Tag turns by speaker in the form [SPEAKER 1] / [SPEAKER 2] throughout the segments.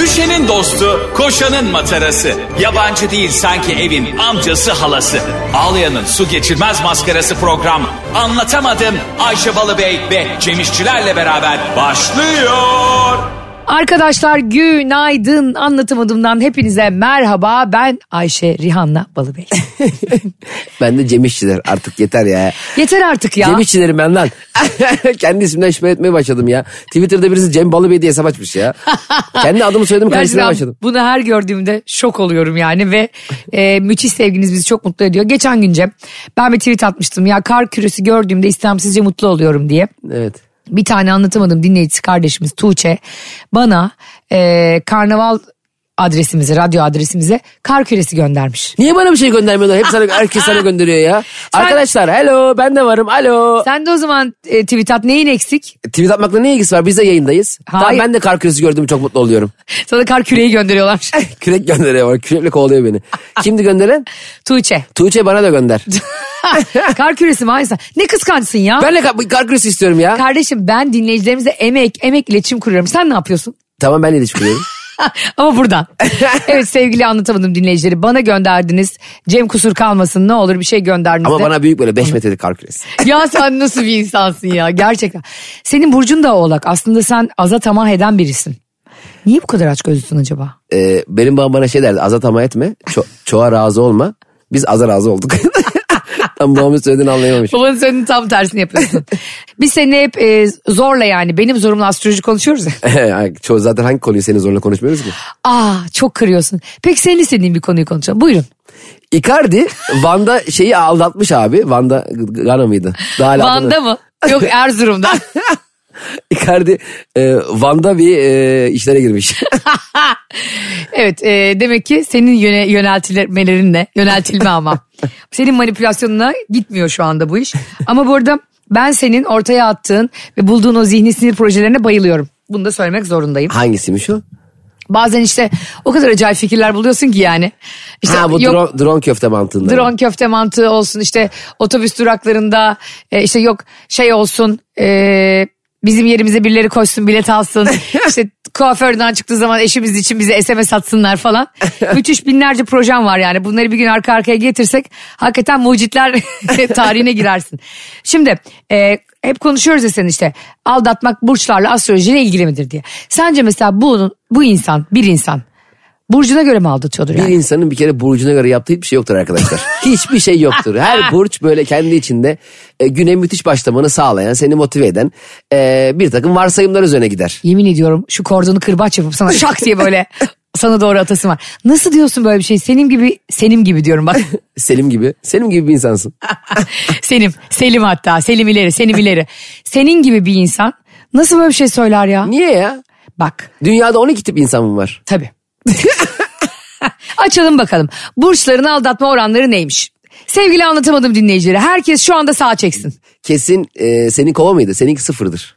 [SPEAKER 1] Ayşe'nin dostu, koşanın matarası. Yabancı değil sanki evin amcası halası. Ağlayan'ın su geçirmez maskarası program. Anlatamadım Ayşe Balıbey ve Cemişçilerle beraber başlıyor.
[SPEAKER 2] Arkadaşlar günaydın anlatamadığımdan hepinize merhaba ben Ayşe Rihanna Balıbey.
[SPEAKER 3] Ben de Cem İşçiler artık yeter ya.
[SPEAKER 2] Yeter artık ya.
[SPEAKER 3] Cem İşçilerim ben lan. Kendi isimden şüphe etmeye başladım ya. Twitter'da birisi Cem Balıbey diye hesap açmış ya. Kendi adımı soyadımı karıştırmaya
[SPEAKER 2] Gerçekten
[SPEAKER 3] başladım.
[SPEAKER 2] bunu her gördüğümde şok oluyorum yani ve e, müthiş sevginiz bizi çok mutlu ediyor. Geçen gün Cem ben bir tweet atmıştım ya kar küresi gördüğümde istemsizce mutlu oluyorum diye.
[SPEAKER 3] Evet.
[SPEAKER 2] bir tane anlatamadım dinleyicisi kardeşimiz Tuğçe bana e, karnaval adresimize, radyo adresimize kar küresi göndermiş.
[SPEAKER 3] Niye bana bir şey göndermiyorlar? Hep sana, herkes sana gönderiyor ya. Arkadaşlar hello ben de varım alo.
[SPEAKER 2] Sen de o zaman e, tweet at neyin eksik?
[SPEAKER 3] Tweet atmakla ne ilgisi var? Biz de yayındayız. Tamam
[SPEAKER 2] Hayır.
[SPEAKER 3] ben de kar küresi gördüğümü çok mutlu oluyorum.
[SPEAKER 2] Sana kar küreği gönderiyorlar.
[SPEAKER 3] Kürek gönderiyor bana. Kürekle kovalıyor beni. Kimdi gönderen?
[SPEAKER 2] Tuğçe.
[SPEAKER 3] Tuğçe bana da gönder.
[SPEAKER 2] kar küresi mi? Hayır sen- Ne kıskançsın ya?
[SPEAKER 3] Ben de kar, kar küresi istiyorum ya.
[SPEAKER 2] Kardeşim ben dinleyicilerimize emek, emek iletişim kuruyorum. Sen ne yapıyorsun?
[SPEAKER 3] Tamam ben de ilişki kuruyorum.
[SPEAKER 2] Ama buradan. evet sevgili anlatamadım dinleyicileri. Bana gönderdiniz. Cem kusur kalmasın ne olur bir şey gönderdiniz.
[SPEAKER 3] Ama
[SPEAKER 2] de.
[SPEAKER 3] bana büyük böyle 5 metrelik kar küresi.
[SPEAKER 2] ya sen nasıl bir insansın ya gerçekten. Senin burcun da oğlak. Aslında sen aza tamah eden birisin. Niye bu kadar aç gözlüsün acaba?
[SPEAKER 3] Ee, benim babam bana şey derdi azat ama etme ço- çoğa razı olma biz aza razı olduk. Tam babamın söylediğini anlayamamış.
[SPEAKER 2] Babanın senin tam tersini yapıyorsun. Biz seni hep e, zorla yani benim zorumla astroloji konuşuyoruz ya.
[SPEAKER 3] Yani Çoğu zaten hangi konuyu senin zorla konuşmuyoruz ki?
[SPEAKER 2] Aa çok kırıyorsun. Peki senin istediğin bir konuyu konuşalım. Buyurun.
[SPEAKER 3] Icardi Van'da şeyi aldatmış abi. Van'da Gana mıydı? Daha hala adını-
[SPEAKER 2] Van'da mı? Yok Erzurum'da.
[SPEAKER 3] Icardi e, Van'da bir e, işlere girmiş.
[SPEAKER 2] evet e, demek ki senin yöne, yöneltilmelerinle yöneltilme ama. Senin manipülasyonuna gitmiyor şu anda bu iş. Ama bu arada ben senin ortaya attığın ve bulduğun o zihni sinir projelerine bayılıyorum. Bunu da söylemek zorundayım.
[SPEAKER 3] Hangisiymiş o?
[SPEAKER 2] Bazen işte o kadar acayip fikirler buluyorsun ki yani. İşte
[SPEAKER 3] ha bu
[SPEAKER 2] yok-
[SPEAKER 3] drone, drone köfte mantığında.
[SPEAKER 2] Drone köfte mantığı olsun işte otobüs duraklarında e, işte yok şey olsun e, bizim yerimize birileri koşsun bilet alsın işte kuaförden çıktığı zaman eşimiz için bize SMS atsınlar falan. Müthiş binlerce projem var yani bunları bir gün arka arkaya getirsek hakikaten mucitler tarihine girersin. Şimdi e, hep konuşuyoruz ya sen işte aldatmak burçlarla astrolojiyle ilgili midir diye. Sence mesela bu, bu insan bir insan burcuna göre mi aldatıyordur
[SPEAKER 3] Bir
[SPEAKER 2] yani?
[SPEAKER 3] insanın bir kere burcuna göre yaptığı hiçbir şey yoktur arkadaşlar. hiçbir şey yoktur. Her burç böyle kendi içinde e, güne müthiş başlamanı sağlayan, seni motive eden e, bir takım varsayımlar üzerine gider.
[SPEAKER 2] Yemin ediyorum şu kordonu kırbaç yapıp sana şak diye böyle sana doğru atası var. Nasıl diyorsun böyle bir şey? Senim gibi, Senim gibi diyorum bak.
[SPEAKER 3] Selim gibi. Selim gibi bir insansın.
[SPEAKER 2] Selim, Selim hatta. Selim ileri, Selim ileri. Senin gibi bir insan nasıl böyle bir şey söyler ya?
[SPEAKER 3] Niye ya?
[SPEAKER 2] Bak
[SPEAKER 3] Dünyada 12 tip insan mı var?
[SPEAKER 2] tabii. Açalım bakalım. Burçların aldatma oranları neymiş? Sevgili anlatamadım dinleyicileri. Herkes şu anda sağ çeksin.
[SPEAKER 3] Kesin e, senin kova mıydı? Seninki sıfırdır.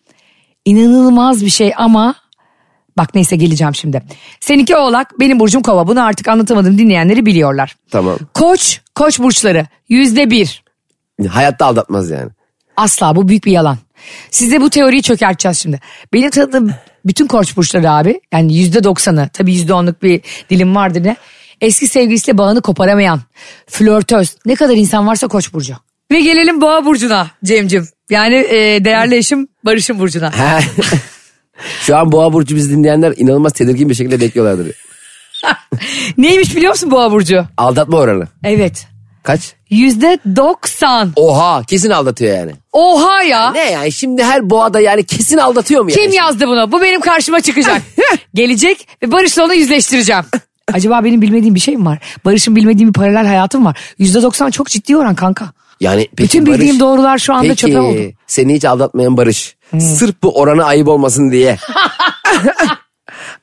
[SPEAKER 2] İnanılmaz bir şey ama bak neyse geleceğim şimdi. Seninki oğlak benim burcum kova bunu artık anlatamadım dinleyenleri biliyorlar.
[SPEAKER 3] Tamam.
[SPEAKER 2] Koç, koç burçları yüzde bir.
[SPEAKER 3] Hayatta aldatmaz yani.
[SPEAKER 2] Asla bu büyük bir yalan. Size bu teoriyi çökerteceğiz şimdi. Benim tanıdığım bütün koç burçları abi yani yüzde doksanı tabii yüzde onluk bir dilim vardır ne. Eski sevgilisiyle bağını koparamayan, flörtöz ne kadar insan varsa koç burcu. Ve gelelim boğa burcuna Cem'cim. Yani e, değerli eşim Barış'ın burcuna.
[SPEAKER 3] Ha. Şu an Boğa Burcu bizi dinleyenler inanılmaz tedirgin bir şekilde bekliyorlardır.
[SPEAKER 2] Neymiş biliyor musun boğa burcu?
[SPEAKER 3] Aldatma oranı.
[SPEAKER 2] Evet.
[SPEAKER 3] Kaç?
[SPEAKER 2] Yüzde doksan.
[SPEAKER 3] Oha kesin aldatıyor yani.
[SPEAKER 2] Oha ya.
[SPEAKER 3] Ne yani şimdi her boğada yani kesin aldatıyor mu yani?
[SPEAKER 2] Kim yazdı bunu? Bu benim karşıma çıkacak. Gelecek ve Barış'la onu yüzleştireceğim. Acaba benim bilmediğim bir şey mi var? Barış'ın bilmediğim bir paralel hayatım var. Yüzde doksan çok ciddi oran kanka.
[SPEAKER 3] Yani peki
[SPEAKER 2] Bütün bildiğim
[SPEAKER 3] Barış-
[SPEAKER 2] doğrular şu anda
[SPEAKER 3] Peki,
[SPEAKER 2] çöpe oldu. Hmm.
[SPEAKER 3] Seni hiç aldatmayan Barış. Sırf bu orana ayıp olmasın diye.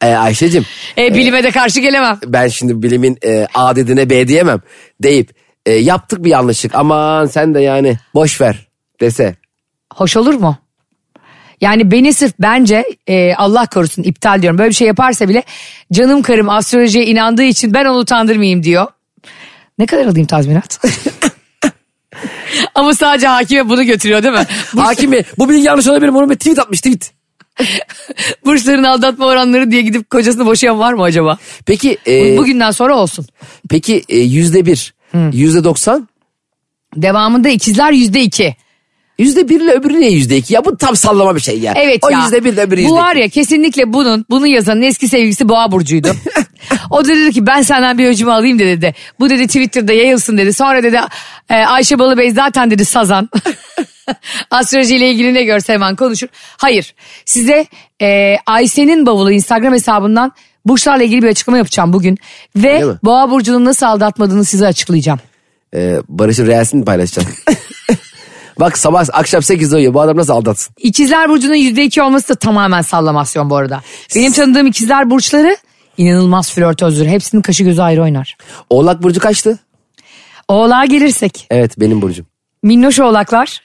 [SPEAKER 3] ee, Ayşe'cim
[SPEAKER 2] E, bilime de karşı gelemem.
[SPEAKER 3] ben şimdi bilimin e, A dediğine B diyemem deyip e, yaptık bir yanlışlık aman sen de yani boş ver dese.
[SPEAKER 2] Hoş olur mu? Yani beni sırf bence e, Allah korusun iptal diyorum. Böyle bir şey yaparsa bile canım karım astrolojiye inandığı için ben onu utandırmayayım diyor. Ne kadar alayım tazminat? Ama sadece hakime bunu götürüyor değil mi? Bu-
[SPEAKER 3] Hakim Bey bu bilgi yanlış olabilir mi? Onu bir tweet atmış tweet.
[SPEAKER 2] Burçların aldatma oranları diye gidip kocasını boşayan var mı acaba?
[SPEAKER 3] Peki e,
[SPEAKER 2] Bugünden sonra olsun.
[SPEAKER 3] peki e, yüzde bir,
[SPEAKER 2] Hmm.
[SPEAKER 3] yüzde doksan,
[SPEAKER 2] Devamında ikizler yüzde iki.
[SPEAKER 3] yüzde bir ile öbürü niye yüzde iki? Ya bu tam sallama bir şey ya.
[SPEAKER 2] Evet
[SPEAKER 3] o
[SPEAKER 2] ya.
[SPEAKER 3] yüzde bir ile öbürü yüzde
[SPEAKER 2] Bu
[SPEAKER 3] iki.
[SPEAKER 2] var ya kesinlikle bunun, bunu yazanın eski sevgilisi Boğa Burcu'ydu. o da dedi ki ben senden bir öcümü alayım dedi. dedi. Bu dedi Twitter'da yayılsın dedi. Sonra dedi e, Ayşe Balıbey zaten dedi sazan. Astrolojiyle ilgili ne görse hemen konuşur. Hayır size e, Ayşe'nin bavulu Instagram hesabından Burçlarla ilgili bir açıklama yapacağım bugün. Ve
[SPEAKER 3] Öyle mi?
[SPEAKER 2] Boğa Burcu'nun nasıl aldatmadığını size açıklayacağım.
[SPEAKER 3] Ee, Barış'ın reelsini paylaşacağım. Bak sabah akşam 8'de uyuyor. Bu adam nasıl aldatsın?
[SPEAKER 2] İkizler Burcu'nun %2 olması da tamamen sallamasyon bu arada. Benim tanıdığım ikizler Burçları inanılmaz flörtözdür. Hepsinin kaşı gözü ayrı oynar.
[SPEAKER 3] Oğlak Burcu kaçtı?
[SPEAKER 2] Oğlağa gelirsek.
[SPEAKER 3] Evet benim Burcum.
[SPEAKER 2] Minnoş oğlaklar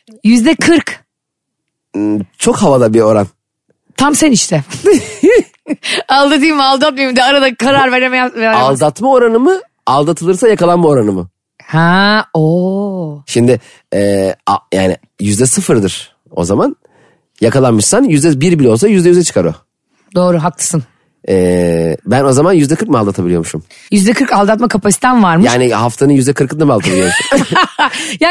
[SPEAKER 2] %40.
[SPEAKER 3] Çok havada bir oran.
[SPEAKER 2] Tam sen işte. Aldatayım mı aldatmayayım mı de arada karar veremeyen. veremez.
[SPEAKER 3] Aldatma oranı mı? Aldatılırsa yakalanma oranı mı?
[SPEAKER 2] Ha o.
[SPEAKER 3] Şimdi e, a- yani yüzde sıfırdır o zaman. Yakalanmışsan yüzde bir bile olsa yüzde yüze çıkar o.
[SPEAKER 2] Doğru haklısın.
[SPEAKER 3] E, ben o zaman yüzde kırk mı aldatabiliyormuşum?
[SPEAKER 2] %40 aldatma kapasiten varmış. Yani,
[SPEAKER 3] Yani haftanın yüzde kırkını mı aldatabiliyormuşum?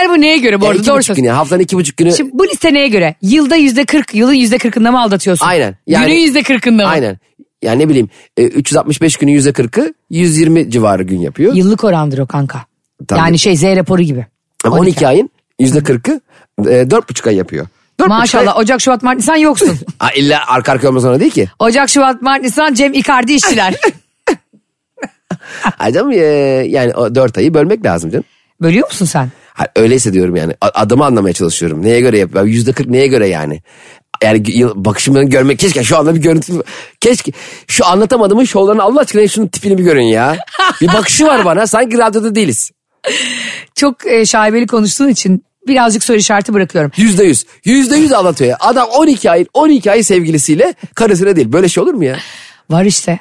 [SPEAKER 2] bu neye göre bu
[SPEAKER 3] yani
[SPEAKER 2] arada
[SPEAKER 3] iki
[SPEAKER 2] doğru
[SPEAKER 3] buçuk
[SPEAKER 2] söz.
[SPEAKER 3] günü, haftanın iki buçuk günü.
[SPEAKER 2] Şimdi bu liste neye göre? Yılda %40, yılın %40'ında mı aldatıyorsun?
[SPEAKER 3] Aynen, yani-
[SPEAKER 2] Yani, Günün %40'ında mı?
[SPEAKER 3] Aynen. Yani ne bileyim e, 365 günü yüzde kırkı 120 civarı gün yapıyor.
[SPEAKER 2] Yıllık orandır o kanka.
[SPEAKER 3] Tabii.
[SPEAKER 2] Yani şey Z raporu gibi.
[SPEAKER 3] Ama 12, ayın yüzde kırkı e, dört buçuk ay yapıyor. Dört buçuk
[SPEAKER 2] Maşallah Ocak, Şubat, Mart, Nisan yoksun.
[SPEAKER 3] Ay, Ha, illa arka arkaya olmak zorunda değil ki.
[SPEAKER 2] Ocak, Şubat, Mart, Nisan Cem İkardi işçiler.
[SPEAKER 3] Ay canım e, yani o dört ayı bölmek lazım canım.
[SPEAKER 2] Bölüyor musun sen?
[SPEAKER 3] Ha, öyleyse diyorum yani A- adımı anlamaya çalışıyorum. Neye göre yapıyorum? Yüzde kırk neye göre yani? Yani gü- yıl- bakışımdan görmek keşke şu anda bir görüntü keşke şu anlatamadığımın şovlarını Allah aşkına şunun tipini bir görün ya. Bir bakışı var bana sanki radyoda değiliz.
[SPEAKER 2] Çok e, şaibeli konuştuğun için birazcık soru işareti bırakıyorum.
[SPEAKER 3] Yüzde yüz. Yüzde yüz anlatıyor ya. Adam 12 ayın 12 ay sevgilisiyle karısına değil. Böyle şey olur mu ya?
[SPEAKER 2] Var işte.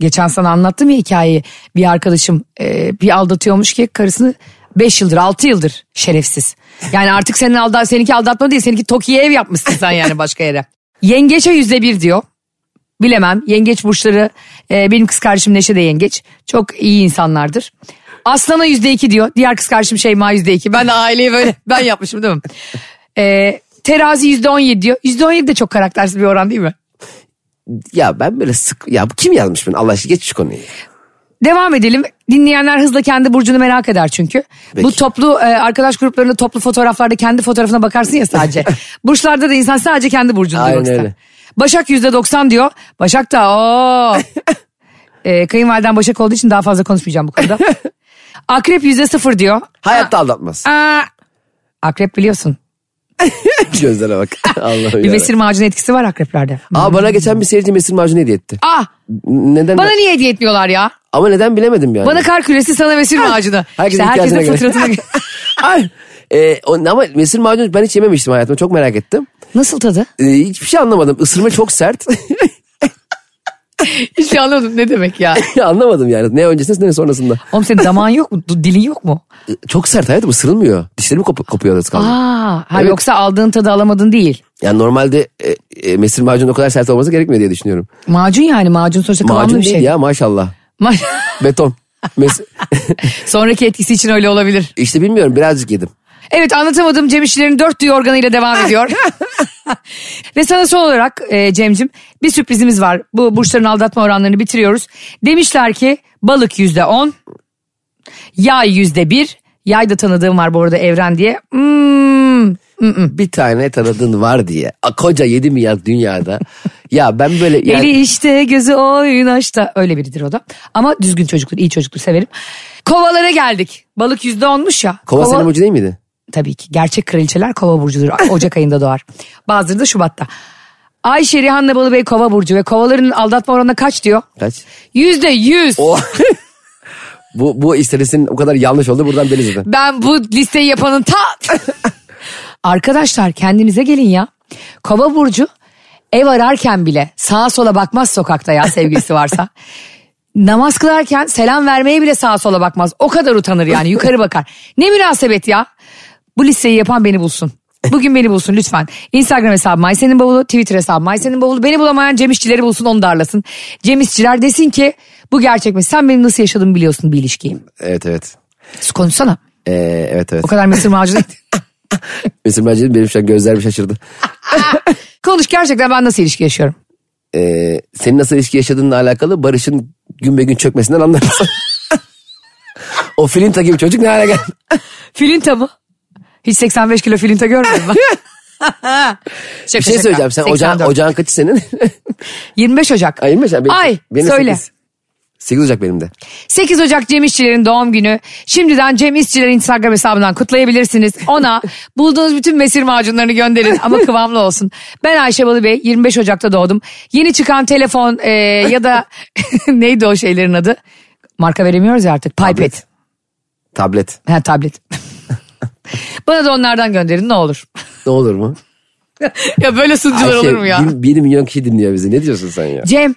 [SPEAKER 2] Geçen sana anlattım ya hikayeyi. Bir arkadaşım e, bir aldatıyormuş ki karısını 5 yıldır 6 yıldır şerefsiz. Yani artık senin aldat, seninki aldatma değil seninki Toki'ye ev yapmışsın sen yani başka yere. Yengeçe yüzde bir diyor. Bilemem yengeç burçları e, benim kız kardeşim Neşe de yengeç. Çok iyi insanlardır. Aslan'a yüzde iki diyor. Diğer kız kardeşim Şeyma yüzde iki. Ben de aileyi böyle ben yapmışım değil mi? E, terazi yüzde on yedi diyor. Yüzde on yedi de çok karaktersiz bir oran değil mi?
[SPEAKER 3] Ya ben böyle sık... Ya bu kim yazmış bunu? Allah aşkına geç şu konuyu.
[SPEAKER 2] Devam edelim. Dinleyenler hızla kendi burcunu merak eder çünkü.
[SPEAKER 3] Peki.
[SPEAKER 2] Bu toplu e, arkadaş gruplarında toplu fotoğraflarda kendi fotoğrafına bakarsın ya sadece. Burçlarda da insan sadece kendi burcunu
[SPEAKER 3] Aynen
[SPEAKER 2] bakar.
[SPEAKER 3] öyle.
[SPEAKER 2] Başak yüzde doksan diyor. Başak da o. e, kayınvaliden Başak olduğu için daha fazla konuşmayacağım bu konuda. Akrep yüzde sıfır diyor.
[SPEAKER 3] Hayatta aldatmaz.
[SPEAKER 2] Aa, akrep biliyorsun.
[SPEAKER 3] Gözlere bak. Allah'ım
[SPEAKER 2] Bir
[SPEAKER 3] ya.
[SPEAKER 2] mesir macunu etkisi var akreplerde.
[SPEAKER 3] Aa bana geçen bir seyirci mesir macunu hediye etti.
[SPEAKER 2] Ah
[SPEAKER 3] Neden?
[SPEAKER 2] bana niye hediye etmiyorlar ya?
[SPEAKER 3] Ama neden bilemedim yani.
[SPEAKER 2] Bana kar küresi sana mesir macunu.
[SPEAKER 3] Herkesin
[SPEAKER 2] İşte herkesin
[SPEAKER 3] ihtiyacına göre.
[SPEAKER 2] fıtratına
[SPEAKER 3] Ay. Ee, o- ama mesir macunu ben hiç yememiştim hayatımda. Çok merak ettim.
[SPEAKER 2] Nasıl tadı?
[SPEAKER 3] Ee, hiçbir şey anlamadım. Isırma çok sert.
[SPEAKER 2] Hiç şey anlamadım ne demek ya.
[SPEAKER 3] anlamadım yani. Ne öncesinde ne sonrasında.
[SPEAKER 2] Oğlum senin damağın yok mu? Du- Dilin yok mu?
[SPEAKER 3] Ee, Çok sert hayatım ısırılmıyor. Dişlerim kop- kopuyor arası kaldı.
[SPEAKER 2] Aa, ha
[SPEAKER 3] Evet.
[SPEAKER 2] yoksa aldığın tadı alamadın değil.
[SPEAKER 3] Yani normalde e, e, mesir macunun o kadar sert olması gerekmiyor diye düşünüyorum.
[SPEAKER 2] Macun yani macun sonuçta kıvamlı
[SPEAKER 3] Macun
[SPEAKER 2] bir
[SPEAKER 3] değil
[SPEAKER 2] şey.
[SPEAKER 3] ya maşallah.
[SPEAKER 2] Ma-
[SPEAKER 3] Beton. Mes-
[SPEAKER 2] Sonraki etkisi için öyle olabilir.
[SPEAKER 3] işte bilmiyorum birazcık yedim.
[SPEAKER 2] Evet anlatamadım Cem İşçilerin dört duyu organıyla devam ediyor. Ve sana son olarak e, Cem'cim bir sürprizimiz var. Bu burçların aldatma oranlarını bitiriyoruz. Demişler ki balık yüzde on, yay yüzde bir. Yay da tanıdığım var bu arada Evren diye. Hmm,
[SPEAKER 3] Bir tane tanıdığın var diye. A, koca 7 milyar dünyada. ya ben böyle yani
[SPEAKER 2] Eli işte gözü oynaşta. Öyle biridir o da. Ama düzgün çocuktur, iyi çocuktur severim. Kovalara geldik. Balık yüzde onmuş ya.
[SPEAKER 3] kova, senin burcu değil miydi?
[SPEAKER 2] Tabii ki. Gerçek kraliçeler kova burcudur. Ocak ayında doğar. Bazıları da Şubat'ta. Ayşe Rihanna Balıbey kova burcu ve kovaların aldatma oranına kaç diyor?
[SPEAKER 3] Kaç?
[SPEAKER 2] Yüzde yüz.
[SPEAKER 3] O bu bu istatistiğin o kadar yanlış oldu buradan beni zaten.
[SPEAKER 2] Ben bu listeyi yapanın ta... Arkadaşlar kendinize gelin ya. Kova Burcu ev ararken bile sağa sola bakmaz sokakta ya sevgilisi varsa. Namaz kılarken selam vermeye bile sağa sola bakmaz. O kadar utanır yani yukarı bakar. Ne münasebet ya. Bu listeyi yapan beni bulsun. Bugün beni bulsun lütfen. Instagram hesabım Aysen'in bavulu, Twitter hesabım Aysen'in bavulu. Beni bulamayan Cem İşçileri bulsun onu darlasın. Cem İşçiler desin ki bu gerçek mi? Sen benim nasıl yaşadığımı biliyorsun bir ilişkiyi.
[SPEAKER 3] Evet evet.
[SPEAKER 2] Sus konuşsana.
[SPEAKER 3] Ee, evet evet.
[SPEAKER 2] O kadar mısır macunu.
[SPEAKER 3] Mesela bence benim şu an gözlerim şaşırdı.
[SPEAKER 2] Konuş gerçekten ben nasıl ilişki yaşıyorum.
[SPEAKER 3] Ee, senin nasıl ilişki yaşadığınla alakalı Barış'ın gün be gün çökmesinden anlarsın. o filinta gibi çocuk ne hale geldi?
[SPEAKER 2] Filinta mı? Hiç 85 kilo filinta görmedim ben.
[SPEAKER 3] Bir şey söyleyeceğim. Sen ocağın, ocağın kaçı senin?
[SPEAKER 2] 25 Ocak.
[SPEAKER 3] Ay, 25 Ocak. Benim-
[SPEAKER 2] Ay
[SPEAKER 3] benim
[SPEAKER 2] söyle.
[SPEAKER 3] 8. 8 Ocak benim de.
[SPEAKER 2] 8 Ocak Cem İşçilerin doğum günü. Şimdiden Cem İşçilerin Instagram hesabından kutlayabilirsiniz. Ona bulduğunuz bütün mesir macunlarını gönderin ama kıvamlı olsun. Ben Ayşe Balı Bey 25 Ocak'ta doğdum. Yeni çıkan telefon e, ya da neydi o şeylerin adı? Marka veremiyoruz ya artık. Pipet.
[SPEAKER 3] Tablet.
[SPEAKER 2] Ha tablet. Bana da onlardan gönderin ne olur.
[SPEAKER 3] Ne olur mu?
[SPEAKER 2] ya böyle sunucular
[SPEAKER 3] Ayşe,
[SPEAKER 2] olur mu ya?
[SPEAKER 3] Bir, bir milyon kişi dinliyor bizi. Ne diyorsun sen ya?
[SPEAKER 2] Cem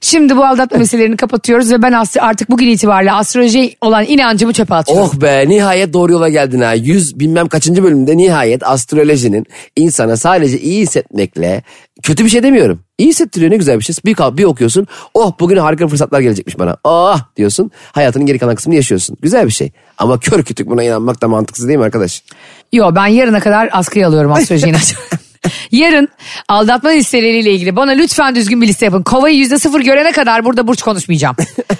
[SPEAKER 2] şimdi bu aldatma meselelerini kapatıyoruz ve ben as- artık bugün itibariyle astrolojiye olan inancımı çöpe atıyorum.
[SPEAKER 3] Oh be nihayet doğru yola geldin ha. Yüz bilmem kaçıncı bölümde nihayet astrolojinin insana sadece iyi hissetmekle kötü bir şey demiyorum. İyi hissettiriyor ne güzel bir şey. Bir, kal- bir okuyorsun oh bugün harika fırsatlar gelecekmiş bana. Ah diyorsun hayatının geri kalan kısmını yaşıyorsun. Güzel bir şey. Ama kör kütük buna inanmak da mantıksız değil mi arkadaş?
[SPEAKER 2] Yo ben yarına kadar askıya alıyorum astroloji inancı. Yarın aldatma listeleriyle ilgili bana lütfen düzgün bir liste yapın. Kovayı yüzde sıfır görene kadar burada burç konuşmayacağım.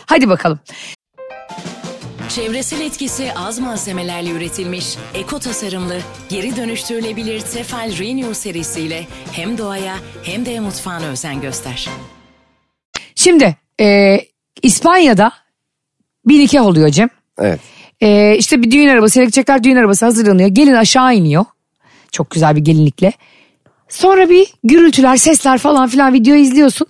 [SPEAKER 2] Hadi bakalım.
[SPEAKER 4] Çevresel etkisi az malzemelerle üretilmiş, eko tasarımlı, geri dönüştürülebilir Tefal Renew serisiyle hem doğaya hem de mutfağına özen göster.
[SPEAKER 2] Şimdi e, İspanya'da bir nikah oluyor Cem.
[SPEAKER 3] Evet.
[SPEAKER 2] Ee, işte bir düğün arabası gidecekler düğün arabası hazırlanıyor. Gelin aşağı iniyor. Çok güzel bir gelinlikle. Sonra bir gürültüler sesler falan filan video izliyorsun.